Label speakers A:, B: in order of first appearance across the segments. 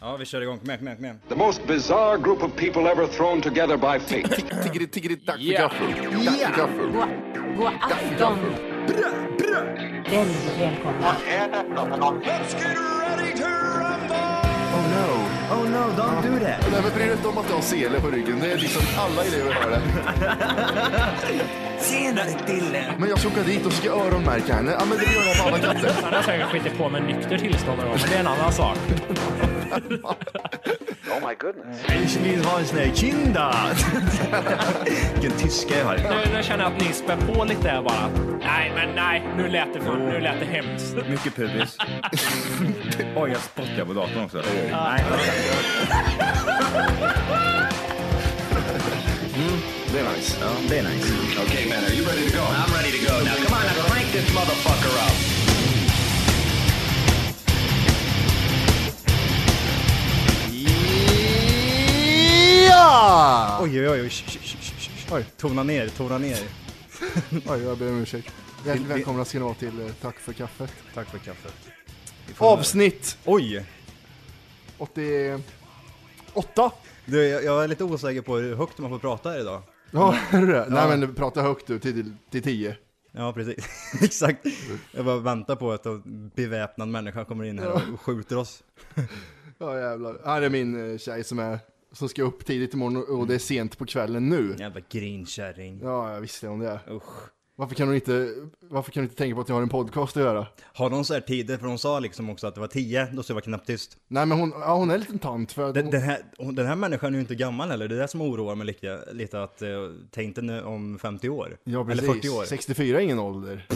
A: Ja, vi kör igång. Kom igen, kom igen, kom igen.
B: The most bizarre group of people ever thrown together by fate.
C: Tiggeri, tiggeri, tack för
A: Ja.
C: gaffel. Tack för gaffel.
D: God, god afton. Väldigt välkomna.
C: Oh no.
E: Oh no, don't do that.
C: Nej, men bry dig inte om att jag har sele på ryggen. Det är liksom alla elever har det.
E: Senare Dille.
C: Men jag ska åka dit och ska öronmärka henne. Ja, men det gör jag på alla katter.
F: Han har säkert skitit på med nykter tillstånd och men det är en annan sak.
E: Ich vill ha en sån här kinda. Vilken tyska jag har.
F: Nu, nu känner jag att ni spär på lite här bara. Nej, men nej, nu lät det, fan, nu lät det hemskt.
A: Mycket pubis. Oj, jag spottar på datorn också.
C: Det är nice.
A: Det är nice.
B: okay, man, are you ready to go? I'm ready to go. Now, come on, now crank this motherfucker up.
C: Ja!
A: Oj, oj, oj. oj, sh- sh- sh- sh- sh. Oj, tona ner, tona ner.
C: Oj, jag ber om ursäkt. Väl, välkomna ska ni vara till eh, Tack för kaffet.
A: Tack för kaffet. Vi får-
C: Avsnitt
A: Oj!
C: 88.
A: Du, jag, jag är lite osäker på hur högt man får prata här idag.
C: Ja, är det det? Nej men prata högt du, till, till 10.
A: Ja, precis. Exakt. Jag bara väntar på att en beväpnad människa kommer in här och skjuter oss.
C: Ja jävlar. Här är min eh, tjej som, är, som ska upp tidigt imorgon och- och det är sent på kvällen nu.
A: Jävla grinkärring.
C: Ja, jag visste om det.
A: Usch.
C: Varför kan du inte, varför kan du inte tänka på att jag har en podcast att göra?
A: Har de så här tider? För de sa liksom också att det var 10, då så jag var knäpptyst.
C: Nej men hon, ja, hon är en liten tant för att
A: Den,
C: hon,
A: den, här, hon- den här människan är ju inte gammal heller, det är det som oroar mig lite. lite att, eh, tänk dig nu om 50 år.
C: ja, precis.
A: Eller 40 år.
C: 64 är ingen ålder.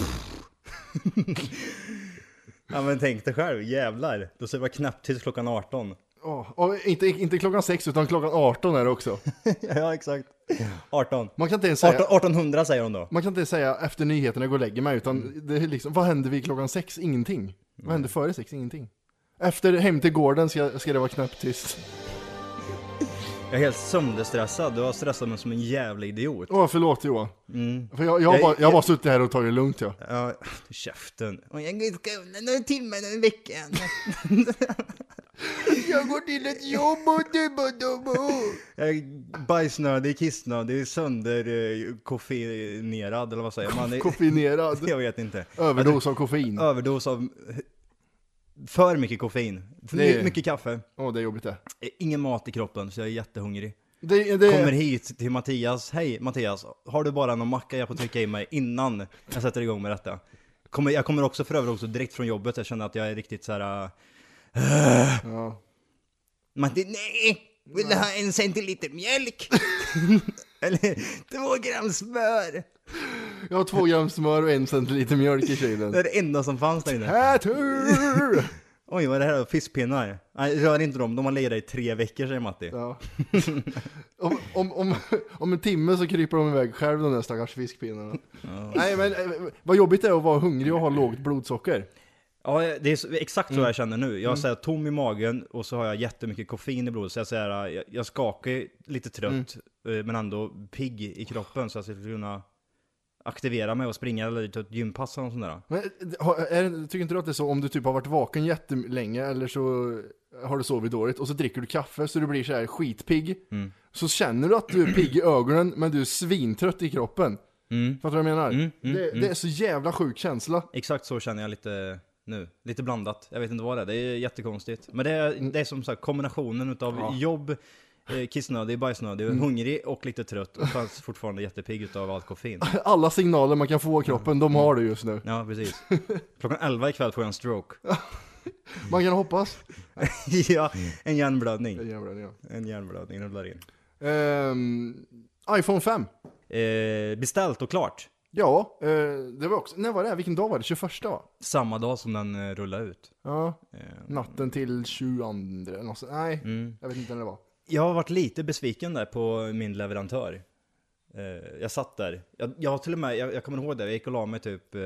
A: Ja men tänk dig själv, jävlar. Då ser jag knappt tills klockan 18.
C: Ja, och inte, inte klockan 6 utan klockan 18 är det också.
A: ja exakt. 18.
C: Man kan inte ens
A: 18
C: säga,
A: 1800 säger hon då.
C: man kan inte ens säga efter nyheterna går och lägger mig utan det är liksom, vad händer vid klockan 6? Ingenting. Vad händer före 6? Ingenting. Efter hem till gården ska, ska det vara knäpptyst.
A: Jag är helt sönderstressad, du har stressat mig som en jävla idiot.
C: Åh, förlåt Johan. För jag, Mm. jag, har
A: Jag-
C: bara, jag har bara suttit här och tagit det lugnt ja.
A: Ja, käften. Och jag går i skolan några timmar i veckan.
C: Jag går till ett jobb och dubbadubbo.
A: Jag är Eh, bajsnödig, kissnödig, sönder, eh, koffeinerad eller vad säger man? Det-
C: Koffeinerad.
A: Jag vet inte.
C: Överdos av koffein.
A: Överdos av eh, för mycket koffein. För
C: Det är-
A: my- mycket kaffe. Eh,
C: Åh, det är jobbigt det.
A: Ingen mat i kroppen, så jag är jättehungrig.
C: Det, det,
A: Kommer hit till Mattias. Hej Mattias, har du bara någon macka jag får trycka i mig innan jag sätter igång med detta? Kommer, jag kommer också för övrigt också direkt från jobbet. Jag känner att jag är riktigt så här. äh,
C: Ja.
A: Matti, nej! Vill du ha en centiliter mjölk? Eller två gram smör?
C: Jag har två gram smör och en centiliter mjölk i
A: Det är
C: kylen.
A: det enda som fanns där inne.
C: Ätur!
A: Oj, vad är det här då? Fiskpinnar? Nej, rör inte dem. De har legat där i tre veckor, säger Matti.
C: Ja. Om, om, om, om en timme så kryper de iväg själv de där stackars fiskpinnarna. Nej men eh, vad jobbigt det är att vara hungrig och ha lågt blodsocker.
A: Ja, det är så- exakt så jag känner nu. Jag är så här tom i magen och så har jag jättemycket koffein i blodet. Så jag, är så här, jag, jag skakar lite trött, eh, men ändå pigg i kroppen. Så att jag ska kunna aktivera mig och springa eller ta ett gympass eller något sånt där.
C: Men eh, har- är, det- tycker inte du att det är så om du typ har varit vaken jättelänge eller så har du sovit dåligt och så dricker du kaffe så du blir så här skitpigg. Så känner du att du är pigg i ögonen men du är svintrött i kroppen. Fattar du vad jag menar? det, det är så jävla sjuk känsla.
A: Exakt så känner jag lite nu. Lite blandat. Jag vet inte vad det är. Det är jättekonstigt. Men det är, det är som sagt kombinationen utav jobb, eh, kissnödig, bajsnödig, hungrig och lite trött. Och fanns fortfarande jättepigg utav allt koffein.
C: Alla signaler man kan få av kroppen, de har du just nu.
A: Ja, precis. Klockan 11 ikväll får jag en stroke.
C: Man kan hoppas.
A: ja, en hjärnblödning.
C: Jävlar, ja.
A: En hjärnblödning rullar in.
C: Ehm, iPhone 5.
A: Eh, beställt och klart.
C: Ja, eh, det var också, när var det? Vilken dag var det? 21 va?
A: Samma dag som den eh, rullade ut.
C: Ja,
A: Eh,
C: natten till 22 eller något sånt. Nej,
A: Mm.
C: jag vet inte när det var.
A: Jag har varit lite besviken där på min leverantör. Eh, jag satt där. Jag, jag har till och med, jag, jag kommer ihåg det, jag gick och la mig typ eh,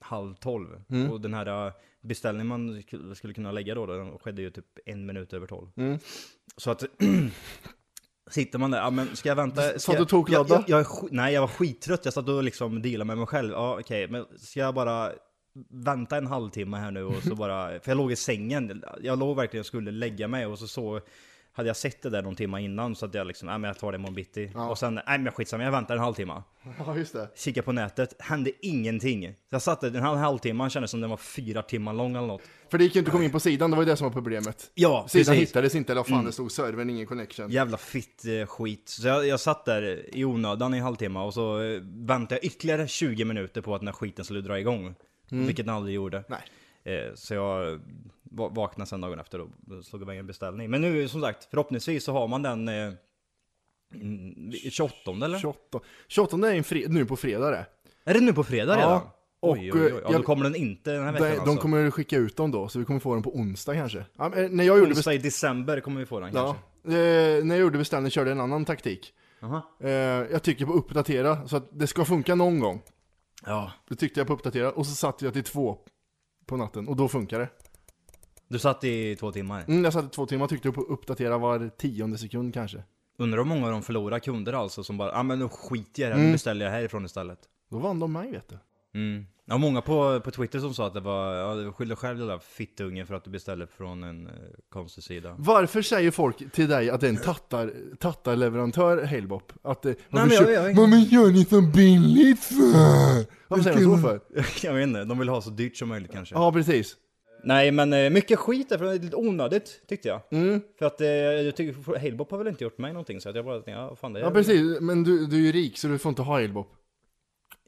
A: halv tolv. Och den här eh, beställningen man sk- skulle kunna lägga då, då den skedde ju typ en minut över tolv. Så att... Sitter man där, ja men ska jag vänta? Ska
C: du
A: jag-
C: tokladda?
A: Jag, jag, jag, är sk- nej jag var skittrött, jag satt och liksom dealade med mig själv. Ja okej, men ska jag bara vänta en halvtimme här nu och så bara, för jag låg i sängen, jag låg verkligen och skulle lägga mig och så så hade jag sett det där någon timme innan så att jag liksom, nej men jag tar det imorgon bitti. Och sen, nej men skitsamma, jag väntar en halvtimme.
C: Ja, just det.
A: Kika på nätet, hände ingenting. Så jag satt där, den här halvtimman kändes som den var fyra timmar lång eller något.
C: För det gick ju inte att komma in på sidan, det var ju det som var problemet.
A: Ja,
C: Sidan
A: precis. Mm.
C: hittades inte, eller vad fan det stod, servern, ingen connection.
A: Jävla fitt eh, skit. Så jag, jag satt där i onödan i en halvtimme och så eh, väntade jag ytterligare 20 minuter på att den här skiten skulle dra igång. Vilket den aldrig gjorde.
C: Mm. Nej.
A: Eh, Så jag va- vaknade sen dagen efter och slog iväg en beställning. Men nu som sagt, förhoppningsvis så har man den eh, mm, 28 eller?
C: 28. 28 är en fre- nu på fredag det.
A: Är det nu på fredag
C: Ja,
A: redan?
C: och, eh,
A: oj, oj, oj. Ja, då
C: jag-
A: kommer den inte den här veckan
C: De, de
A: alltså.
C: kommer skicka ut dem då, så vi kommer få dem på onsdag kanske. Ja, men, eh, när jag gjorde beställningen...
A: Onsdag i december kommer vi få den
C: Ja,
A: kanske.
C: eh, när jag gjorde beställningen körde jag en annan taktik.
A: Aha.
C: Eh, jag trycker på uppdatera, så att det ska funka någon gång.
A: Ja.
C: Då tryckte jag på uppdatera och så satt jag till två på natten och då funkar det.
A: Du satt i två timmar.
C: Mm, jag satt i två timmar och tryckte på uppdatera var tionde sekund kanske.
A: Undrar hur många av de förlorar kunder alltså som bara, ja ah, men nu skiter jag i det här,
C: Mm.
A: nu beställer jag härifrån istället.
C: Då vann de mig vet du.
A: Mm. Ja, många på, på Twitter som sa att det var, ja, du skyller själv den där fittungen för att du beställer från en eh, konstig sida.
C: Varför säger folk till dig att det är en tattar, tattarleverantör Halebop? Att eh, varför
A: men jag-
C: kö-
A: jag- jag-
C: Varför gör ni så billigt för? Varför säger de så för?
A: jag vet inte, de vill ha så dyrt som möjligt kanske.
C: Ja precis.
A: Nej men eh, mycket skit därför det är lite onödigt tyckte jag.
C: Mm.
A: För att eh, jag tycker, Halebop har väl inte gjort mig någonting så att jag bara tänkte, ja vad fan det är
C: Ja precis, men du, du är ju rik så du får inte ha Halebop.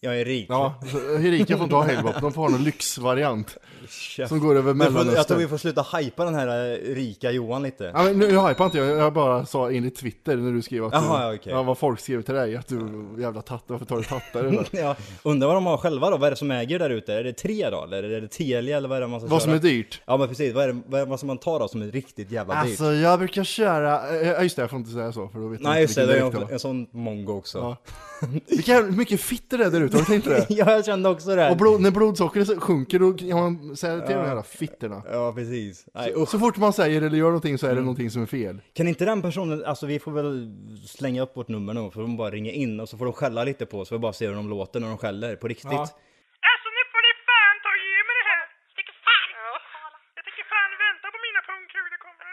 A: Jag är rik.
C: Ja, så, eh, rika får inte ha Halebop, de får ha någon lyxvariant.
A: Käft.
C: Som går över
A: Vi får- Jag tror
C: Mellanöstern.
A: vi får sluta hypa den här eh, rika Johan lite.
C: Ja, men nu jag hypar inte jag, jag bara sa enligt Twitter när du skrev att
A: Jaha,
C: du,
A: ja, okej.
C: ja, vad folk skrev till dig, att du jävla tattare, varför tar du tattare? för?
A: Ja, undrar vad de har själva då, vad är det som äger där ute? Är det tre då? Eller är det Telia eller vad är det man ska
C: vad
A: köra?
C: som är dyrt.
A: Ja men precis, vad är det, vad, är- vad som man tar då som är riktigt jävla dyrt?
C: Alltså jag brukar köra, eh, ja, just det jag får inte säga så för då vet jag
A: Nej just det,
C: vilken
A: det
C: dialekt
A: är en, en sån mongo också.
C: Ja.
A: Ja.
C: Vilka jävla- mycket fitter det är där ute, har du tänkt på det?
A: jag kände också det.
C: Och blod, när blodsockret så- sjunker då kan man säga till de här fitterna.
A: Ja precis. Nej, usch. Mm.
C: Så fort man säger eller gör någonting så är det någonting som är fel.
A: Kan inte den personen, alltså vi får väl slänga upp vårt nummer nu, för de bara ringer in och så får de skälla lite på oss, för vi bara ser hur de låter när de skäller på riktigt.
C: Ja.
D: Alltså nu får ni fan ta och ge mig det här! Jag tänker fan Jag tänker fan vänta på mina pungkulor kommer.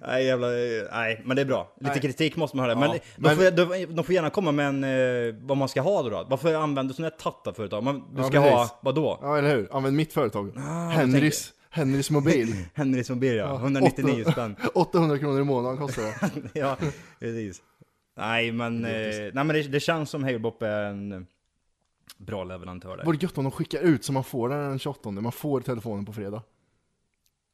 A: Nej jävla, eh, nej men det är bra. Lite kritik måste man ha det. Men,
C: men-
A: De, får, de, de får gärna komma med en, eh, vad man ska ha då. då. Varför använder du sådana här tattarföretag? Man, du
C: Ja,
A: ska
C: precis.
A: ha, vadå?
C: Ja eller hur? Använd mitt företag. Henrys, Henrys mobil.
A: Henrys mobil ja, 199
C: Åtta-
A: spänn.
C: 800 kronor i månaden kostar det.
A: ja, precis. Nej men, eh, nej, men det, det känns som Halebop är en eh, bra leverantör där.
C: Vore gött om de skickar ut så man får den den 28, man får telefonen på fredag.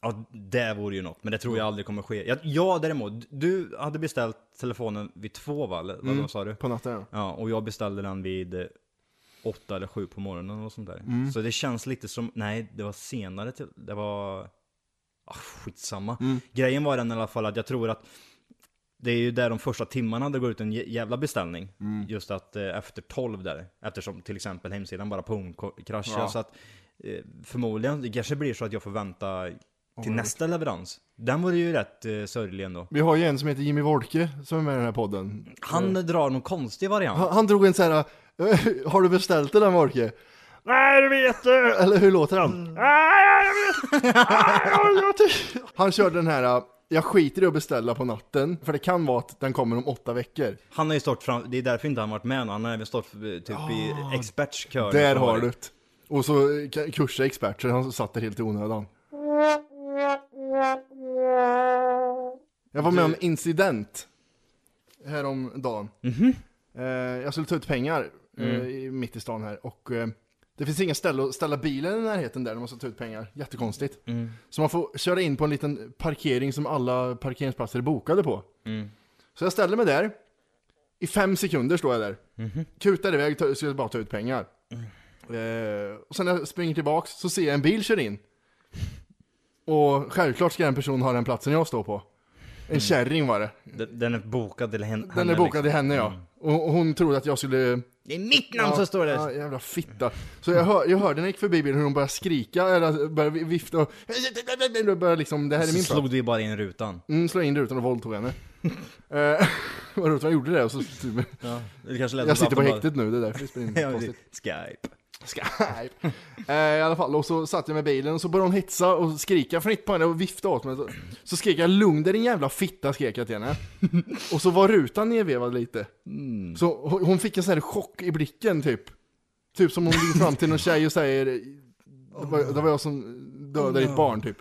A: Ja, det vore ju något, men det tror jag aldrig kommer ske. Jag, jag däremot, du hade beställt telefonen vid två va? Eller, Vad sa du?
C: På natten ja.
A: Ja, och jag beställde den vid eh, åtta eller sju på morgonen och sånt där. Så det känns lite som, nej det var senare till, det var... Ah, skitsamma. Grejen var den i alla fall att jag tror att det är ju där de första timmarna det går ut en jä- jävla beställning. Just att eh, efter 12 där, eftersom till exempel hemsidan bara pung kraschar. Så att eh, förmodligen, det kanske blir så att jag får vänta till nästa leverans. Den vore ju rätt eh, sörjlig ändå.
C: Vi har ju en som heter Jimmy Wolke som är med i den här podden.
A: Han drar någon konstig variant.
C: Han, han drog en så här, eh, har du beställt den Wolke? Nej det vet du! Eller hur låter han? "Nej, jag vet- nej, jag vet." Han körde den här, eh, jag skiter i att beställa på natten, för det kan vara att den kommer om åtta veckor.
A: Han har ju stått fram, det är därför inte han varit med nu. Han har även stått eh, typ i experts kör.
C: Ah. Där har du det. Och så eh, k- kursa expert, så han satt där helt i onödan. Jag var med om en incident häromdagen. Eh, jag skulle ta ut pengar eh, i- mitt i stan här och eh, det finns inga ställe att ställa bilen i närheten där när man ska ta ut pengar. Jättekonstigt. Så man får köra in på en liten parkering som alla parkeringsplatser är bokade på. Så jag ställer mig där. I fem sekunder står jag där. Kutar iväg, tar- ska bara ta ut pengar. Eh, och sen när jag springer tillbaks så ser jag en bil köra in. Och självklart ska den personen ha den platsen jag står på.
A: Mm.
C: En kärring var det.
A: Den den är bokad till hen- henne. liksom.
C: Den är bokad till henne ja. Och och hon trodde att jag skulle...
A: Det är mitt namn
C: ja,
A: som Mm. står där!
C: Ja, jävla fitta. Så jag, hör, jag hörde när jag gick förbi bilen hur hon började skrika, eller började vifta och... och Började liksom, det här är
A: så
C: min
A: slog
C: plats.
A: du ju bara in rutan.
C: Mm, slog in rutan och våldtog henne. Eh, Vad roligt, jag gjorde det och så... Typ,
A: Det kanske lät
C: jag
A: som
C: sitter på
A: att de
C: häktet nu, det är därför det spelar in
A: Bara,
C: konstigt.
A: Skype.
C: Skype. Eh, I alla fall, och så satt jag med bilen och så började hon hetsa och skrika fritt på henne och vifta åt mig. Så, så skrek jag lugn dig din jävla fitta, skrek jag till henne. Och så var rutan nedvevad lite. Så hon hon fick en sån här chock i blicken typ. Typ som hon gick fram till någon tjej och säger det var, det var jag som dödade ditt barn typ.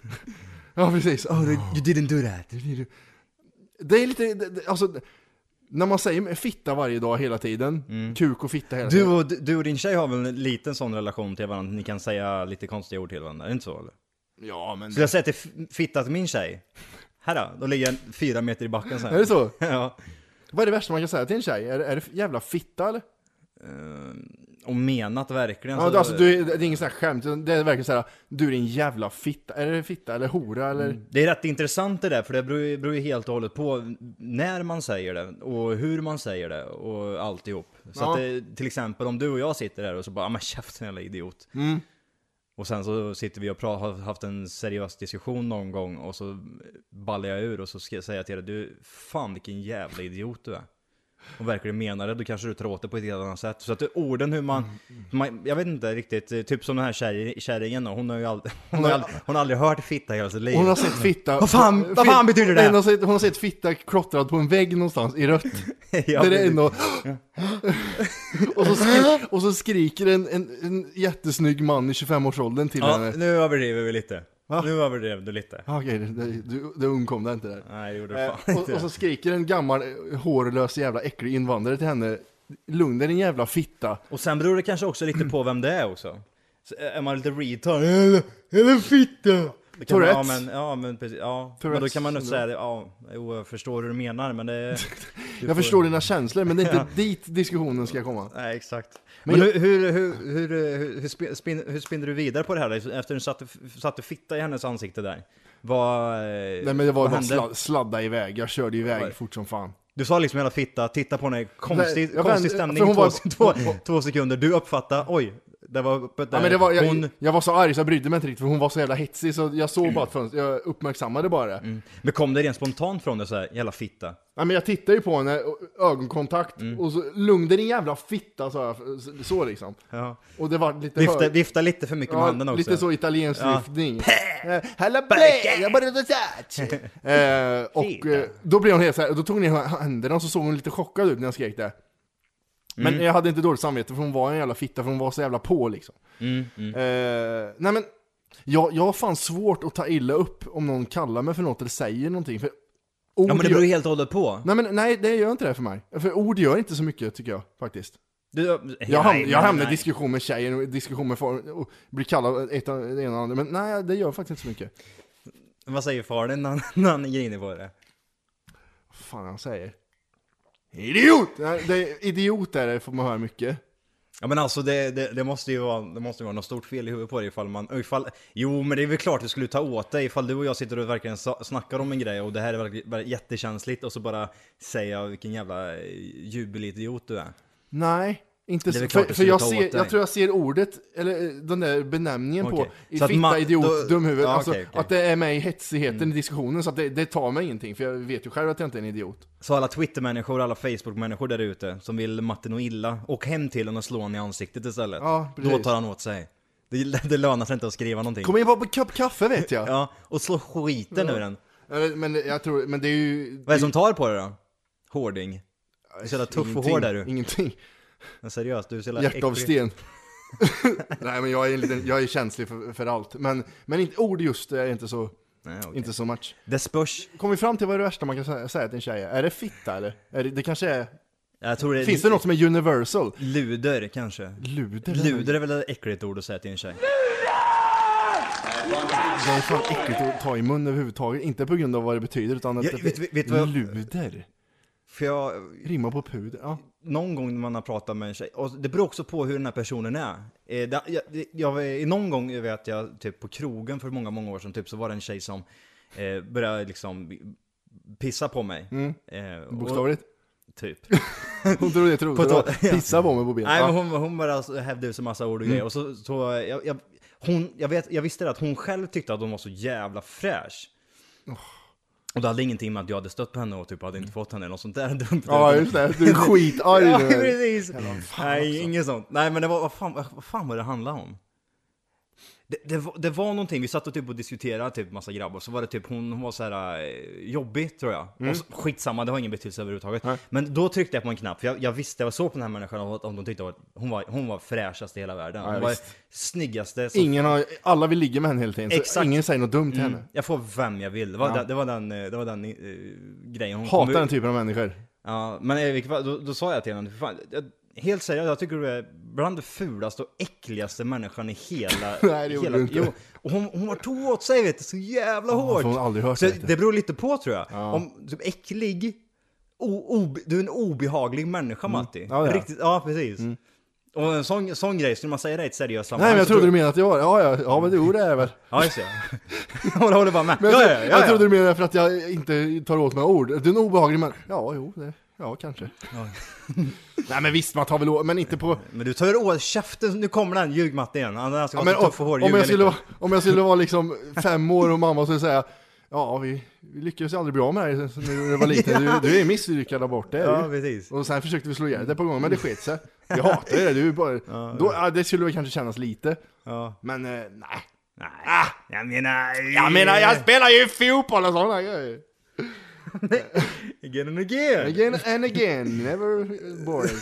C: Ja precis. Oh, det-
A: You didn't do that.
C: det är lite, det- det- alltså, när man säger fitta varje dag hela tiden, kuk och fitta hela
A: Du
C: tiden.
A: och, du och din tjej har väl en liten sån relation till varandra? Ni kan säga lite konstiga ord till varandra, är det inte så? Eller?
C: Ja, men...
A: Skulle jag säga till f- fitta till min tjej? Här då, då ligger jag fyra meter i backen så här.
C: Är det så?
A: ja.
C: Vad är det värsta man kan säga till en tjej? Är, det- är det jävla fitta eller?
A: Och menat verkligen.
C: Ja,
A: så-
C: det- alltså,
A: eh,
C: du, det är ingen sån här skämt, utan det är verkligen såhär, du är din jävla fitta, är det fitta eller hora eller?
A: Det är rätt intressant det där, för det beror ju- beror ju helt och hållet på när man säger det och hur man säger det och alltihop. Så
C: Ja.
A: att det, till exempel om du och jag sitter där och så bara "Ah, men käften jävla idiot. Och sen så sitter vi och pra- har haft en seriös diskussion någon gång och så ballar jag ur och så ska jag säga till dig du, fan vilken jävla idiot du är. Och verkligen menar det, då kanske du tar åt det på ett helt annat sätt. Så att orden hur man, man jag vet inte riktigt, eh, typ som den här kärring- kärringen då, hon har ju aldrig, hon har aldrig, hon har aldrig hört fitta i hela sitt liv.
C: Hon har sett fitta...
A: Vad fan- vad fan betyder det?
C: Hon har, sett, hon har sett fitta klottrad på en vägg någonstans i rött.
A: Ja,
C: där det är
A: precis.
C: en och... och, så skri- och så skriker en, en, en jättesnygg man i 25-årsåldern till
A: Ja,
C: henne.
A: nu överdriver vi lite. Nu överdrev du lite.
C: Ah, Okej, det, det, du, det undkom det inte där.
A: Nej, det gjorde du
C: Eh,
A: fan
C: och,
A: inte.
C: och så skriker en gammal eh, hårlös jävla äcklig invandrare till henne Lugn dig din jävla fitta
A: Och sen beror det kanske också lite på vem det är också. Så eh, är man lite retard, eller, eller fitta! Då kan man-
C: Tourettes.
A: Ja men, ja, men precis, ja. Men då
C: Tourettes
A: kan man nog
C: syndrom.
A: säga det, ja, jo, jag förstår hur du menar men det... du
C: Jag
A: får-
C: förstår dina känslor men det är inte dit diskussionen ska komma
A: Nej, exakt. Men, hur, hur, hur, hur, hur, hur, spin, spin, hur spinner du vidare på det här då? Efter du satte, satte fitta i hennes ansikte där? Vad... eh,
C: Nej men det var
A: vad
C: bara
A: hände?
C: sla, sladda iväg, jag körde iväg fort som fan
A: Du sa liksom hela fitta, titta på henne, konstig,
C: Nej, jag
A: konstig
C: vänt-
A: stämning
C: för hon
A: två,
C: var-
A: två, två sekunder, du uppfattar, oj, det var öppet där.
C: Ja, men det var, jag,
A: hon,
C: jag var så arg så jag brydde mig inte riktigt för hon var så jävla hetsig så jag såg bara ett fönster, jag uppmärksammade bara det.
A: men kom det rent spontant från dig såhär, jävla fitta?
C: Ja, men jag tittade ju på henne, och- ögonkontakt,
A: Mm.
C: och så lugn dig din jävla fitta sa jag, så, så liksom.
A: Ja.
C: Och det var lite
A: Vifta,
C: hög-
A: vifta lite för mycket med handen också.
C: Lite så italiensk
A: Ja.
C: lyftning. Eh, Hella bä, jag bara eh, Och eh, då blev hon helt så här, då tog ni händerna och så såg hon lite chockad ut när jag skrek det. Men
A: Mm.
C: jag hade inte dåligt samvete för hon var en jävla fitta, för hon var så jävla på liksom.
A: Mm,
C: Eh, nej men, jag, jag har fan svårt att ta illa upp om någon kallar mig för något eller säger någonting. För ord
A: Ja men det
C: gör...
A: beror ju helt och hållet på.
C: Nej men nej, det gör inte det för mig. För ord gör inte så mycket tycker jag faktiskt.
A: Du,
C: Jag, ham-
A: nej,
C: jag
A: nej,
C: hamnar i
A: nej.
C: diskussion med tjejer och diskussion med far och blir kallad ett av det ena och andra. Men nej, det gör faktiskt inte så mycket.
A: Vad säger far när, han- när han är grinig på det?
C: Vad fan han säger? Idiot! Nej, det, idiot är det, får man höra mycket.
A: Ja men alltså det, det, det måste ju vara, det måste ju vara något stort fel i huvudet på dig ifall man, ifall, jo men det är väl klart du skulle ta åt dig ifall du och jag sitter och verkligen sa- snackar om en grej och det här är verkligen bara jättekänsligt och så bara säger jag vilken jävla eh, jubelidiot du är.
C: Nej,
A: Det
C: inte
A: är
C: så.
A: väl
C: För,
A: klart du
C: för
A: skulle
C: jag,
A: ta åt
C: ser, jag
A: dig.
C: tror jag ser ordet, eller eh, den där benämningen
A: Okej.
C: på,
A: Så
C: så
A: att
C: fitta,
A: man-
C: idiot,
A: då-
C: dumhuvud.
A: Ja,
C: alltså,
A: okej, okej. Mm.
C: Att det är med i hetsigheten i diskussionen, så att det, det tar mig ingenting. För jag vet ju själv att jag inte är en idiot.
A: Så alla Twitter-människor, alla Facebook-människor där ute som vill Martin och illa, åk hem till honom och slå honom i ansiktet istället.
C: Ja, precis.
A: Då tar han åt sig. Det, det lönar sig inte att skriva någonting.
C: Kom in bara på en kopp kaffe vet jag.
A: Ja, och slå skiten ur den.
C: Eller, Men jag tror, men det är ju...
A: Vad är det som tar på dig då? Hårding. Du är så jävla tuff och
C: ingenting,
A: hård är du.
C: Ingenting.
A: Men seriöst, du är så jävla
C: Hjärta av
A: äcklig.
C: sten. Nej men jag är, en liten, jag är känslig för, för allt. Men, men inte, ord just är inte så,
A: Nej, okej.
C: inte så much.
A: Det spörs.
C: Kom vi fram till vad det värsta man kan sä- säga till en tjej är? Är det fitta eller? Är det, det kanske är...
A: Jag tror det
C: Finns det något som är universal?
A: Luder kanske?
C: Luder?
A: Luder är väl ett äckligt ord att säga till en tjej?
C: Det är fan äckligt att ta i mun överhuvudtaget. Inte på grund av vad det betyder utan att
A: Ja,
C: det,
A: vet- vet- vet du vad-
C: luder.
A: För jag,
C: Rimma på puder. Ja.
A: någon gång när man har pratat med en tjej, och det beror också på hur den här personen är. Eh, det- Jag, det- jag, eh, någon gång vet jag, typ på krogen för många, många år sedan, typ, så var det en tjej som eh, började liksom pissa på mig. Eh, och-
C: Bokstavligt.
A: Typ.
C: Hon trodde jag
A: På
C: trodde. det
A: tal-
C: var Pissa på Mm. mig på
A: Nej, men
C: benet.
A: hon, hon bara alltså hävde ut sig massa ord och grejer. Och så, så jag, jag, hon, jag, vet, jag visste det att hon själv tyckte att hon var så jävla fräsch. Och det hade ingenting med att jag hade stött på henne och typ hade inte fått henne eller något sånt där dumt.
C: Mm. Ja just det, du är skitarg
A: Ja,
C: nu.
A: precis. Nej, inget sånt. Nej, men det var, vad fan, vad fan var det handlade om? Det, det, var, det var någonting, vi satt och, typ och diskuterade typ massa grabbar, så var det typ hon, hon var så här eh, jobbig tror jag.
C: Mm.
A: Och så, skitsamma, det har ingen betydelse överhuvudtaget. Men då tryckte jag på en knapp, för jag, jag visste, jag såg på den här människan och om de tyckte att hon var, hon var fräschast i hela världen. Hon
C: Ja,
A: var
C: visst.
A: snyggaste. som
C: Ingen har, alla vill ligga med henne hela tiden, så
A: Exakt.
C: ingen säger något dumt till henne.
A: Jag får vem jag vill. Det var, det, det var den, eh, det var den eh, grejen hon kom
C: Hatar
A: ut-
C: den typen av människor.
A: Ja, men i vilket fall, då, då sa jag till henne, "För fan, jag, helt seriöst, jag tycker du är bland det fulaste och äckligaste människan i hela...
C: Nej, det gjorde
A: hela,
C: du inte.
A: Jo, och hon, hon har tog åt sig vet du, så jävla hårt.
C: för hon har aldrig hört
A: så
C: det, vet du.
A: det beror lite på tror jag. Om typ äcklig, o, obe- du är en obehaglig människa Matti.
C: Mm. Ja, det är.
A: Riktigt, ja precis. Och en sån, sån grej, skulle man säga det i ett seriöst
C: Nej
A: sammanhang
C: men jag
A: så
C: trodde du
A: tror-
C: menade att jag var ja, ja, ja men jo det är jag väl.
A: Ja just det. Hon håller bara med.
C: Men
A: ja,
C: jag,
A: ja,
C: tro-
A: ja,
C: jag
A: ja.
C: trodde du menade för att jag inte tar åt mig ord. Du är en obehaglig man. Ja, jo, det, ja kanske. Nej men visst, man tar väl åt, men inte på...
A: Men du tar ju åt käften, nu kommer den, ljug Matti igen. Han han ska
C: Ja,
A: vara
C: men,
A: så tuff och
C: om,
A: hård,
C: om,
A: ljuga
C: jag skulle,
A: lite.
C: vara- om jag skulle vara liksom fem år och mamma skulle säga Ja, vi, vi lyckades ju aldrig bli av med dig sen när du var liten. Du, du är misslyckad där borta.
A: Ja,
C: Ja,
A: precis.
C: och sen försökte vi slå ihjäl dig på gånger, men det sket sig. Vi hatar ju det, du är bara... då, ja, det skulle väl kanske kännas lite.
A: Ja.
C: Men eh, nej.
A: Nej, Ah! jag menar...
C: Jag menar, jag spelar ju fotboll och sådana grejer.
A: Again and again!
C: Again and again, never boring.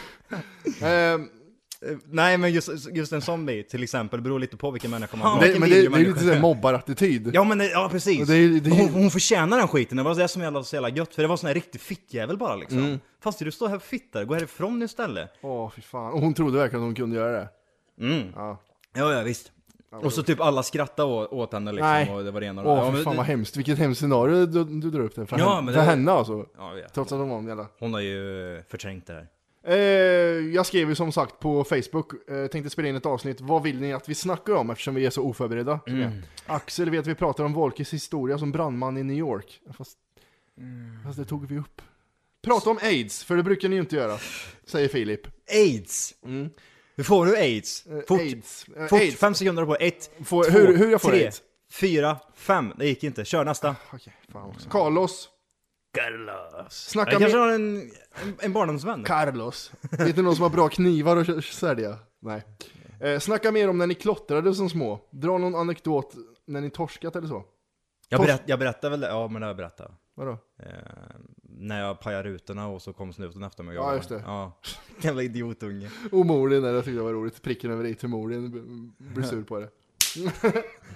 C: Ehm,
A: Eh, Nej, men just, just en sån bit till exempel beror lite på vilken människa man
C: det,
A: vilken
C: men det, det
A: video
C: är ju
A: människa
C: lite såhär mobbarattityd.
A: Ja, men det- ja, precis.
C: Och det är ju- det är ju-
A: Hon, hon förtjänar den skiten, det var det som jag var så jävla gött, för det var sån här riktig fittjävel bara liksom.
C: Mm.
A: Fast du står här och fittar, gå härifrån istället.
C: Åh fy fan, och hon trodde verkligen att hon kunde göra det.
A: Ja, ja, visst. Och så typ alla skrattade å- åt henne liksom,
C: Nej.
A: och det var det ena och det
C: Åh
A: ja,
C: fy
A: men
C: fan
A: det-
C: vad hemskt, vilket hemskt scenario du, du drar upp där för,
A: Ja,
C: henne,
A: men
C: för
A: det-
C: henne alltså.
A: ja, ja.
C: Trots att hon var en jävla...
A: Hon har ju eh, förträngt det här.
C: Eh, jag skrev ju som sagt på Facebook, eh, tänkte spela in ett avsnitt, vad vill ni att vi snackar om eftersom vi är så oförberedda?
A: Mm.
C: som vi är. Axel vet vi pratar om Wolkes historia som brandman i New York. Fast,
A: Mm.
C: fast det tog vi upp. Prata om aids, för det brukar ni ju inte göra, säger Filip.
A: Aids! Hur får du aids?
C: Mm. Eh,
A: Fort,
C: AIDS. Eh,
A: fort,
C: AIDS.
A: fem sekunder på. Ett,
C: Får-
A: två,
C: hur- hur jag får Ah,
A: tre,
C: aids?
A: fyra, fem. Det gick inte. Kör nästa.
C: Okej, fan
A: Mm.
C: också. Carlos. Snacka
A: Jag kanske
C: med...
A: har en, en, en barndomsvän.
C: Carlos. Vet ni någon som har bra knivar att kö- sälja? Nej. Eh, snacka mer om när ni klottrade som små. Dra någon anekdot när ni torskat eller så.
A: Jag,
C: Torsk-
A: berätt, jag berättade väl det, ja men det har jag berättat.
C: Vadå?
A: Eh, när jag pajade rutorna och så kom snuten efter mig.
C: Ja, just det.
A: Ja. Jävla idiotunge.
C: Omorlig när jag tyckte det var roligt. Pricken över i till Morlin b- blir sur på det.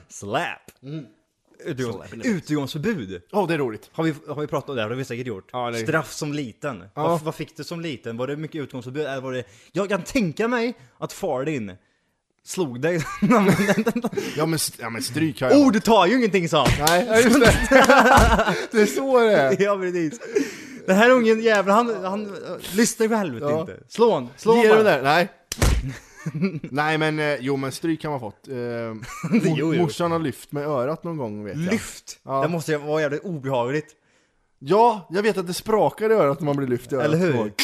A: Slap!
C: Mm.
A: Utegångs, utegångsförbud!
C: Ja, det är roligt.
A: Har vi, har vi pratat om det? här? Det har vi säkert gjort.
C: Ja, det-
A: Straff som liten. Vad, vad fick du som liten? Var det mycket utgångsförbud? Eller var det... Jag kan tänka mig att far din slog dig.
C: Ja men, st- ja, men stryk har jag.
A: oh, du tar ju ingenting sa han!
C: Nej, ja, just det. det är så det är.
A: Ja precis. Den här ungen jäveln, han, han eh, lyssnar för helvete
C: Ja.
A: inte. Slå han, slå han
C: Ge
A: bara.
C: den där. Nej. Nej men, eh, jo men stryk har man fått. Eh, mor-
A: jo, jo.
C: Morsan har lyft med örat någon gång vet jag.
A: Lyft! Det måste ju vara jävligt obehagligt,
C: Ja, jag vet att det sprakar i örat när man blir lyft i örat.
A: eller hur?
C: Oj.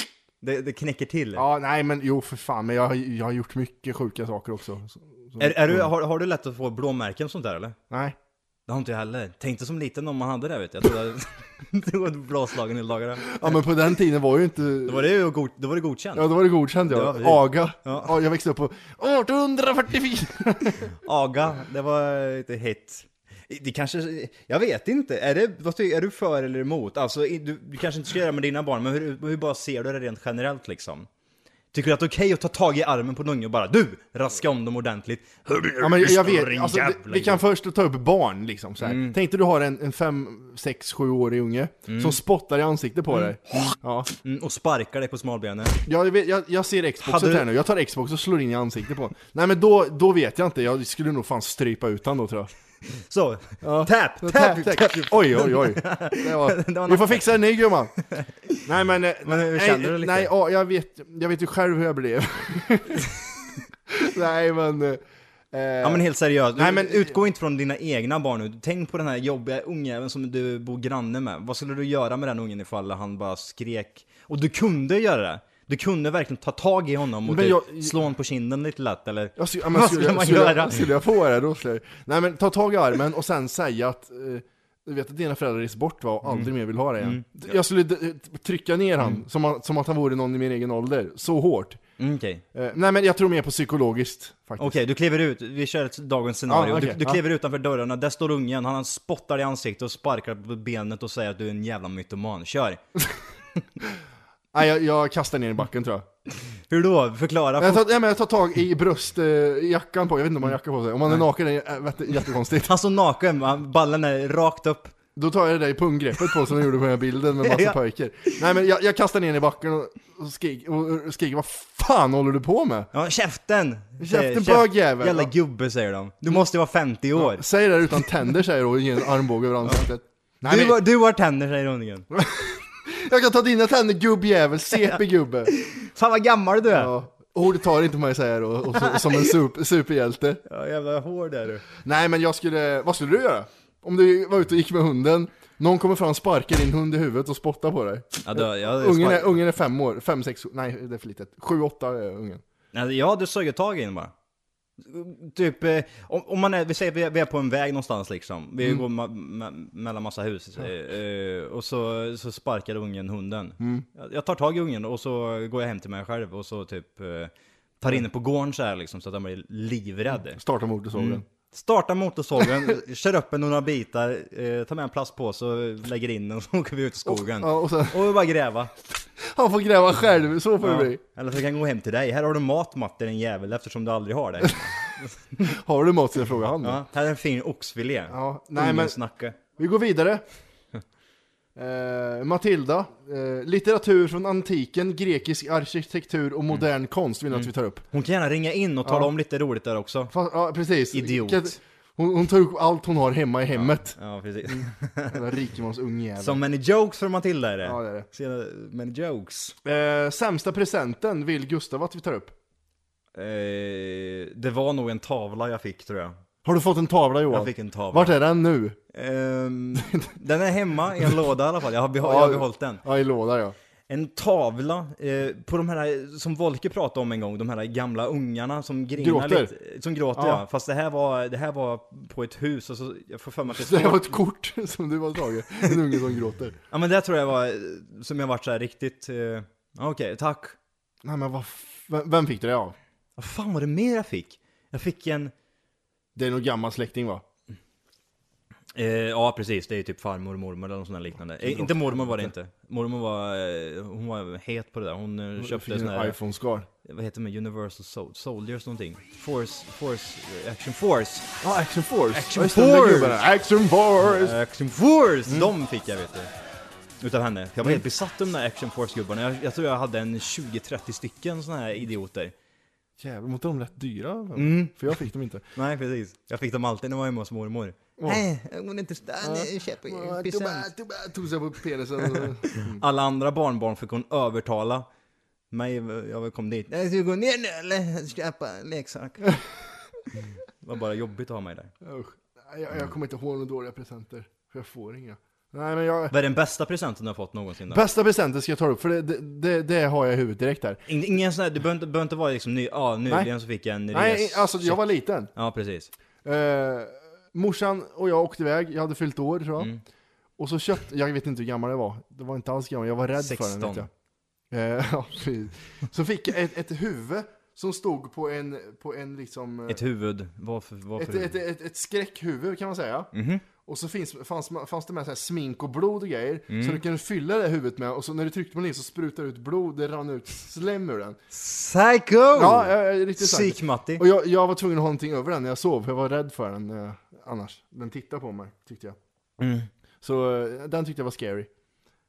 A: Det, det knäcker till.
C: Ja, nej men jo för fan, men jag, har- jag har gjort mycket sjuka saker också. Så, så,
A: Är, är du, har, har du lätt att få blåmärken och sånt där eller?
C: Nej.
A: Det har inte jag heller. Tänkte som liten om man hade det vet du. Jag trodde det var blåslagen hela dagarna.
C: Ja men på den tiden var ju inte...
A: Då var det ju god, då var det godkänt.
C: Ja, då var det godkänt
A: Ja,
C: ja.
A: precis.
C: Aga. Ja.
A: Ja.
C: jag växte upp på 1844.
A: Aga, det var lite hett. Det kanske, jag vet inte. Är, det, vad ty- är du för eller emot? Alltså, i- du, du kanske inte ska göra med dina barn, men hur, hur bara ser du det rent generellt liksom? Tycker du att det är okej att ta tag i armen på en unge och bara du, raska om dem ordentligt?
C: Ja men jag vet,
A: Din
C: alltså, det,
A: jävla Mm.
C: vi kan först ta upp barn liksom så här. Tänk dig du har en 5, 6, 7 årig unge som spottar i ansiktet på dig. Ja.
A: Mm, och sparkar dig på smalbenet.
C: Jag, vet, jag, jag ser Xboxet
A: Hade du-
C: här nu, jag tar Xbox och slår in i ansiktet på honom. Nej men då, då vet jag inte, jag skulle nog fan strypa ut honom då tror jag.
A: Så, tap, tap, tap,
C: Oj, oj, oj. Det var...
A: Det var
C: Vi får fixa en ny gumman. Nej men... eh,
A: Men hur
C: nej,
A: känner du lite?
C: Nej, ja, jag, vet, jag vet ju själv hur jag blev. nej men... eh,
A: Ja men helt seriöst,
C: Nej,
A: Nej,
C: men-
A: men... utgå inte från dina egna barn nu. Tänk på den här jobbiga ungjäveln som du bor granne med. Vad skulle du göra med den ungen ifall han bara skrek? Och du kunde göra det! Du kunde verkligen ta tag i honom och
C: Men
A: typ
C: jag-
A: slå honom på kinden lite lätt eller?
C: Jag skulle, ja, men
A: Vad
C: skulle,
A: skulle man
C: skulle,
A: göra?
C: Skulle jag få det då skulle jag... Nej men ta tag i armen och sen säga att eh, du vet att dina föräldrar är bort va, och
A: Mm.
C: aldrig mer vill ha dig igen. Jag skulle d- trycka ner han, som, att- som att han vore någon i min egen ålder, så hårt.
A: Mm, Okej,
C: Eh, nej men jag tror mer på psykologiskt faktiskt.
A: Okej, du kliver ut, vi kör ett dagens scenario.
C: Ja, okej,
A: du du
C: ja.
A: kliver utanför dörrarna, där står ungen, han spottar i ansiktet och sparkar på benet och säger att du är en jävla mytoman. Kör!
C: Nej jag, jag kastar ner i backen tror jag.
A: Hur då? Förklara.
C: Jag tar, nej, men jag tar tag i bröstjackan på, jag vet inte om man har jacka på sig. Om man är naken är det äh, vet- jättekonstigt.
A: Han står naken, va? ballen är rakt upp.
C: Då tar jag det där i punggreppet på som jag gjorde på den här bilden med massa
A: Ja.
C: pojkar. Nej men jag, jag kastar ner i backen och, och, skrik, och, och skriker vad fan håller du på med?
A: Ja, käften!
C: Käften,
A: Säger-
C: bögjävel.
A: Jävla
C: Ja. Mm.
A: gubbe säger de. Du måste vara 50 år.
C: Säg det där utan tänder säger du och ger en armbåge över ansiktet. Nej,
A: Du,
C: men,
A: har- du har tänder säger ungen.
C: Jag kan ta dina tänder gubbjävel, CP-gubbe.
A: Fan vad gammal du är! Ja,
C: Ja. Ord tar inte mig säger jag då, och så, som en sup, superhjälte.
A: jävla hård är du.
C: Nej men jag skulle, vad skulle du göra? Om du var ute och gick med hunden, någon kommer fram, sparkar din hund i huvudet och spottar på dig.
A: Ja, då, jag,
C: Ungen är, ungen är fem år, fem, sex, nej det är för litet. Sju, åtta är ungen.
A: Alltså, ja, du sög ju tag i den bara. Typ, eh, om, om man är, vi säger att vi är- vi är på en väg någonstans liksom.
C: Mm.
A: Vi går ma- ma- mellan massa hus. eh, eh, och så, så sparkar ungen hunden.
C: Mm.
A: Jag- Jag tar tag i ungen och så går jag hem till mig själv och så typ eh, tar in den på gården så här liksom så att den blir livrädd.
C: Starta motorsågen.
A: Startar motorsågen, kör upp den några bitar, eh, tar med en plastpåse och lägger in den och så åker vi ut i skogen.
C: Ja, och sen,
A: Och vi bara gräva.
C: han får gräva själv, så får det
A: Ja.
C: bli.
A: Eller så kan jag gå hem till dig. Här har du mat Matte din jävel eftersom du aldrig har det.
C: Har du mat så jag frågar han.
A: Ja, här är en fin oxfilé.
C: Ja, nej,
A: Ungen
C: men-
A: snacka.
C: Vi går vidare. Eh, Matilda, eh, litteratur från antiken, grekisk arkitektur och modern konst vill jag att vi tar upp.
A: Hon kan gärna ringa in och tala om lite roligt där också.
C: Fa- ja, precis.
A: Idiot.
C: Kan- Hon, hon tar upp allt hon har hemma i hemmet.
A: Ja, precis.
C: Mm. Jävla rikemans ungjävel.
A: So many jokes för Matilda är det.
C: Ja, det är det.
A: So many jokes.
C: Eh, sämsta presenten vill Gustav att vi tar upp.
A: Eh, det var nog en tavla jag fick tror jag.
C: Har du fått en tavla Johan?
A: Jag fick en tavla.
C: Vart är den nu?
A: Ehm, den är hemma i en låda i alla fall. Jag har, behå- jag
C: Ja,
A: har behållit den.
C: Ja, i låda ja.
A: En tavla eh, på de här, som Volke pratade om en gång, de här gamla ungarna som grinar
C: Gråter.
A: lite. Som gråter ja.
C: Ja.
A: Fast det här, var, det här var på ett hus och så, jag får för mig att det
C: Det här
A: står
C: var ett kort som du har tagit. En unge som gråter.
A: Ja men det tror jag var, eh, som jag varit så här riktigt, eh, ja, okej, tack.
C: Nej men vad f- vem- Vem fick du det av?
A: Vad fan var det mer jag fick? Jag fick en,
C: Det är nog gammal släkting va?
A: eh, ja precis, det är ju typ farmor, mormor eller något sånt där liknande. Eh, inte mormor var det inte. Mormor var, eh, hon var het på det där. Hon eh, köpte
C: Fick
A: sån
C: en
A: här,
C: iPhone-skal.
A: vad heter det, Universal Sol- Soldiers någonting. Force, Force, eh, Action Force.
C: Ja, Action Force.
A: Action
C: Ja, just det, de där
A: Force.
C: gubbarna. Action Force!
A: Eh, Action Force! De fick jag vet du. Utav henne. Jag var helt besatt av de där Action Force-gubbarna. Jag, jag tror jag hade en 20-30 stycken såna här idioter.
C: Jävlar, var inte de rätt dyra? För jag fick dem inte.
A: Nej precis. Jag fick dem alltid när jag var hemma hos mormor. Nej, hon är inte stann, köper ju present.
C: Tog sig på penisen.
A: Alla andra barnbarn fick hon övertala. Mig, jag väl kom dit. Nej, Ska vi gå ner nu eller köpa en leksak? Det var bara jobbigt att ha mig där.
C: Usch. Nej, Jag, jag kommer inte ihåg några dåliga presenter. För jag får inga. Nej men jag...
A: Vad är den bästa presenten du har fått någonsin då?
C: Bästa presenten ska jag ta upp, för det, det, det, det har jag i huvudet direkt här.
A: Ingen- Ingen sån här, du behöver inte, behöver inte vara liksom ny, ja nyligen så fick jag en
C: Nej,
A: res-
C: alltså jag var liten.
A: Ja precis.
C: Eh, morsan och jag åkte iväg, jag hade fyllt år tror jag.
A: Mm.
C: Och så köpte, jag vet inte hur gammal jag var, det var inte alls gammal, jag var rädd för
A: 16.
C: den vet jag. Eh, ja, precis. så fick jag ett, ett huvud som stod på en, på en liksom... eh,
A: Ett huvud, vad för, vad för
C: ett,
A: huvud?
C: ett, ett, ett skräckhuvud kan man säga. Och så finns, fanns, fanns det med så här smink och blod och grejer.
A: Mm.
C: Så du kunde fylla det huvudet med och så när du tryckte på den in så sprutade det ut blod, det rann ut slem ur
A: Oh!
C: den.
A: Psycho!
C: Ja, jag är riktigt starkt.
A: Psyk-Matti.
C: Och jag, jag var tvungen att ha någonting över den när jag sov, för jag var rädd för den eh, annars. Den tittade på mig, tyckte jag. Så eh, den tyckte jag var scary.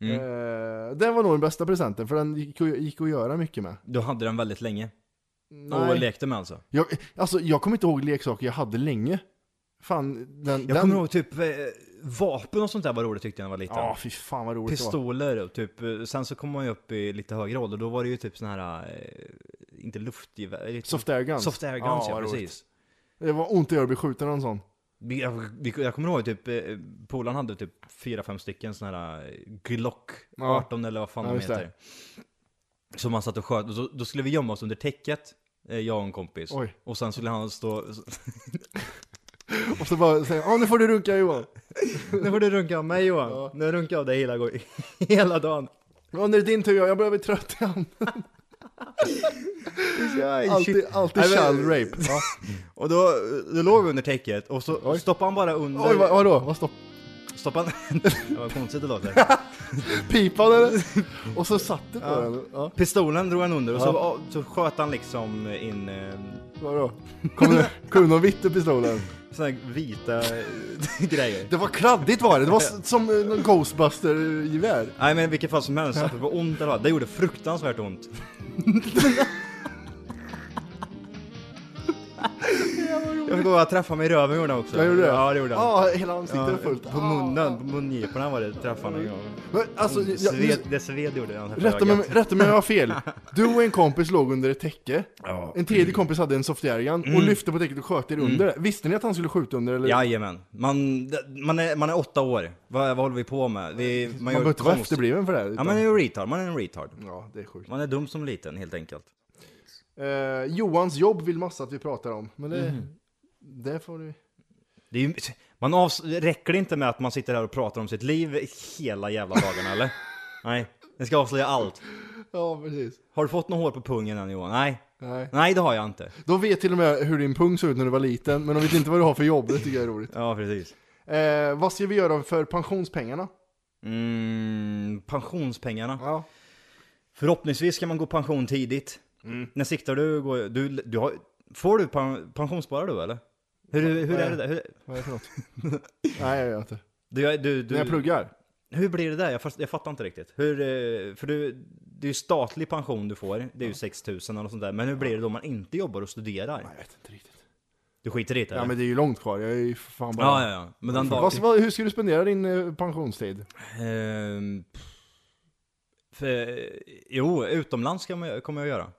A: Mm.
C: Eh, den var nog den bästa presenten, för den gick, att- gick att göra mycket med.
A: Du hade den väldigt länge. Och
C: Nej.
A: lekte med alltså.
C: Jag, alltså, jag kommer inte ihåg leksaker jag hade länge. Fan, den...
A: Jag
C: den...
A: kommer ihåg typ eh, vapen och sånt där var roligt tyckte jag när jag var liten.
C: Ja, fy fan vad roligt det var.
A: Pistoler och typ, eh, sen så kom man ju upp i lite högre ålder, då var det ju typ såna här, eh, inte luftgevär...
C: Soft air guns.
A: Soft air guns, ja,
C: vad roligt.
A: precis.
C: Det var ont i örat att bli skjuten av en sån.
A: Vi- Jag, vi- jag kommer ihåg typ, eh, polaren hade typ fyra fem stycken såna här eh, Glock
C: Ja.
A: 18 eller vad fan
C: Ja,
A: de
C: just det.
A: heter. Som man satt och sköt, och så, då skulle vi gömma oss under täcket, eh, jag och en kompis.
C: Oj.
A: Och sen skulle han stå...
C: Och så bara säger ja nu får du runka Johan.
A: Nu får du runka av mig Johan. Nu har jag runkat av dig hela, go- hela dagen.
C: Ja, nu är det din tur, jag börjar bli trött igen. Alltid, alltid
A: Nej, men-
C: child rape. Ja.
A: Och då, då låg vi under täcket och så stoppade han bara under...
C: Oj, vad, vadå? Vad stopp?
A: Stoppade han... det var konstigt det låter.
C: Pipan eller? Och så satt du på den. Ja.
A: Pistolen drog han under och så, så sköt han liksom in eh,
C: Vadå? Kom det, kom det någon vitt i pistolen?
A: såna här vita eh, grejer.
C: Det var kladdigt var det, det var s- som eh, någon Ghostbuster-gevär.
A: Nej men i vilket fall som helst, att det var ont eller vad, det gjorde fruktansvärt ont. Jag fick gå och träffa mig i röven gjorde han också.
C: Jag gjorde det?
A: Ja det gjorde han.
C: Ja, hela ansiktet
A: Ja,
C: var fullt.
A: På munnen, på mungiporna var det träffarna. Ja.
C: Men, alltså, jag,
A: Sved, det sved gjorde han.
C: rätta, mig, rätta mig om jag har fel. Du och en kompis låg under ett täcke.
A: Ja.
C: En tredje kompis hade en softjärgan och lyfte på täcket och sköt er under det. Visste ni att han skulle skjuta under eller?
A: Jajamän. Man, det- man, är, man är åtta år. Vad, vad håller vi på med? Vi, man
C: Man
A: gör
C: behöver inte vara
A: konst-
C: efterbliven för det här.
A: Ja
C: utan-
A: man är en retard, man är en retard.
C: ja, det är sjukt.
A: Man är dum som liten helt enkelt.
C: Eh, Johans jobb vill massa att vi pratar om, men det, det får du...
A: Det är ju, man avs- räcker det inte med att man sitter här och pratar om sitt liv hela jävla dagarna eller? Nej, det ska avslöja allt.
C: Ja, precis.
A: Har du fått något hår på pungen än Johan? Nej.
C: Nej.
A: Nej, det har jag inte.
C: De vet till och med hur din pung såg ut när du var liten, men de vet inte vad du har för jobb, det tycker jag är roligt.
A: Ja, precis.
C: Eh, vad ska vi göra för pensionspengarna?
A: Mm, pensionspengarna.
C: Ja.
A: Förhoppningsvis ska man gå pension tidigt.
C: Mm.
A: När siktar du? Går, du, du har, får du pen, pensionssparar du eller? Hur, hur är det där? Hur,
C: Vad är det för något? Nej, jag gör inte.
A: du, du, du,
C: När jag pluggar?
A: hur blir det där? Jag, fast, jag fattar inte riktigt. Hur, eh, för du, det är ju statlig pension du får, det är ju 6 000 eller något sånt där. Men hur blir det då om man inte jobbar och studerar?
C: Jag vet inte riktigt.
A: Du skiter i det?
C: Ja,
A: eller?
C: men det är ju långt kvar, jag är ju för fan bara...
A: ja, ja, ja. Men den dagen...
C: Vad, vad, hur ska du spendera din eh, pensionstid?
A: Ehm, pff. för, jo, utomlands ska man, kommer jag göra.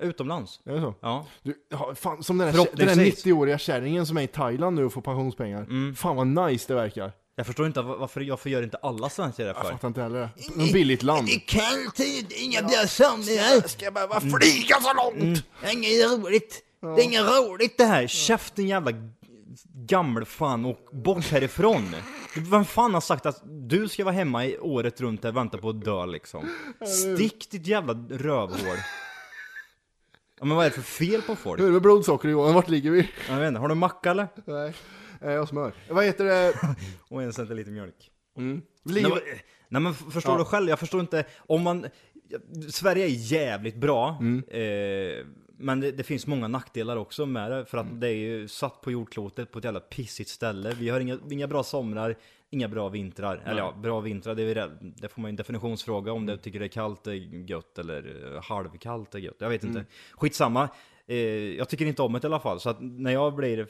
A: Utomlands?
C: Är det så?
A: Ja.
C: Du, ja, fan, som den där, den där
A: Förhoppningsvis. Mm.
C: 90-åriga kärringen som är i Thailand nu och får pensionspengar. Fan vad nice det verkar.
A: Jag förstår inte va- varför, varför gör inte alla svenskar det
C: Jag
A: för?
C: fattar inte heller det. Något billigt land.
A: kall tid, inga bra samlingar.
C: Ska jag behöva flyga så långt?
A: Mm. Inget roligt. Det är inget roligt det här. Käften jävla gammelfan och bort härifrån. Vem fan har sagt att du ska vara hemma i året runt och vänta på att dö liksom? Stick ditt jävla rövhål. Ja, men vad är det för fel på folk?
C: Nu är det med blodsocker Johan, vart ligger vi?
A: Jag vet inte, har du macka eller?
C: Nej, eh, jag smör. Vad heter det?
A: Och en centiliter mjölk.
C: Liv...
A: Nej, men, nej, men f- förstår du själv, jag förstår inte. Om man, Sverige är jävligt bra, eh, men det, det finns många nackdelar också med det. För att det är ju satt på jordklotet på ett jävla pissigt ställe. Vi har inga, inga bra somrar, inga bra vintrar. Eller ja, bra vintrar, det, är, väl- det får man ju en definitionsfråga om du tycker det är kallt är gött eller eh, halvkallt är gött. Jag vet inte. Skitsamma. Eh, jag tycker inte om det i alla fall. Så att när jag blir,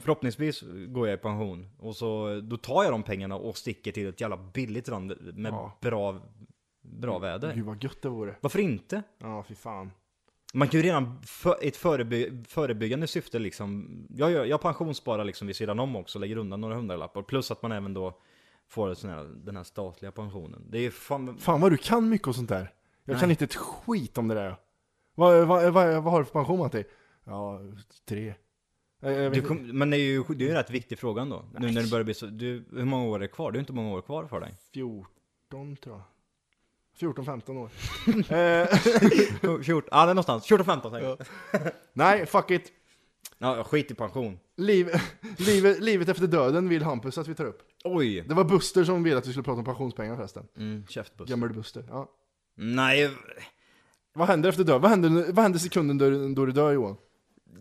A: förhoppningsvis går jag i pension. Och så, då tar jag de pengarna och sticker till ett jävla billigt land med
C: Ja.
A: bra, bra väder.
C: Gud vad gött det vore.
A: Varför inte?
C: Ja, fy fan.
A: Man kan ju redan för, ett föreby, förebyggande syfte liksom. Jag, gör- jag pensionssparar liksom vid sidan om också, lägger undan några hundralappar. Plus att man även då får ett sån här, den här statliga pensionen. Det är ju fan...
C: Fan vad du kan mycket och sånt där. Jag kan inte ett skit om det där. Vad, vad, vad, vad har du för pension Matti? Ja, tre. Eh, jag vet
A: Du
C: inte.
A: kom, men det är ju det är ju en rätt viktig fråga ändå. Nu när det börjar bli så... Du, hur många år är det kvar? Det är ju inte många år kvar för dig.
C: 14 tror jag. 14-15 år. eh,
A: 14, ja det är någonstans. 14-15 säger jag.
C: nej, fuck it.
A: Ja, jag skit i pension.
C: Liv, livet, livet efter döden vill Hampus att vi tar upp.
A: Oj!
C: Det var Buster som ville att vi skulle prata om pensionspengar förresten.
A: Mm, käftbuss.
C: Gammal Buster. Ja.
A: Nej,
C: Vad händer efter döden? Vad händer, vad händer sekunden då, då du dör Johan?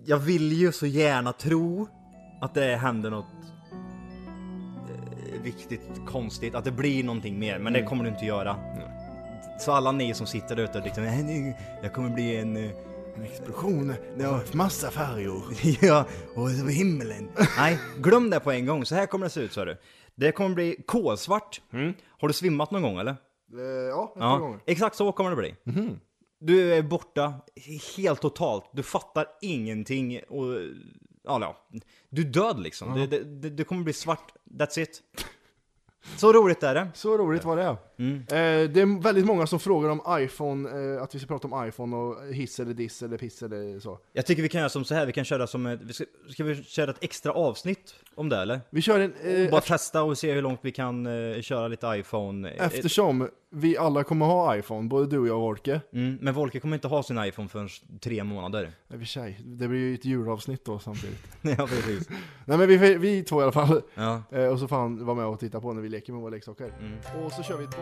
A: jag vill ju så gärna tro att det händer något eh, viktigt, konstigt, att det blir någonting mer, men
C: Mm.
A: det kommer du inte göra. Så alla ni som sitter där ute och liksom, "Nej, nu- jag kommer bli en... eh,
C: En explosion. Ja. Massa färger.
A: ja, och över himlen. Nej, glöm det på en gång, så här kommer det se ut sa du. Det kommer bli kolsvart.
C: Mm.
A: Har du svimmat någon gång eller?
C: Eh, ja, ett par
A: Ja,
C: gånger.
A: exakt så kommer det bli. Du är borta helt totalt. Du fattar ingenting och... Ja, ja. Du är död liksom. Det, det, det, det kommer bli svart. That's it. Så roligt är det.
C: Så roligt var det.
A: Mm.
C: Eh, det är väldigt många som frågar om iPhone, eh, att vi ska prata om iPhone och hiss eller diss eller piss eller så.
A: Jag tycker vi kan göra som så här, vi kan köra som ett, vi ska, ska vi köra ett extra avsnitt om det eller?
C: Vi kör en... eh,
A: Oh, Bara testa och se hur långt vi kan eh, köra lite iPhone. Eh,
C: Eftersom vi alla kommer ha iPhone, både du och jag och Orke.
A: Mm, men Volker kommer inte ha sin iPhone förrän tre månader.
C: I och för sig, Eh, det blir ju ett julavsnitt då samtidigt.
A: ja, precis.
C: Nej men vi, vi två i alla fall.
A: Ja.
C: Eh, och så får han vara med och titta på när vi leker med våra leksaker.
A: Mm.
C: Och så kör vi bara...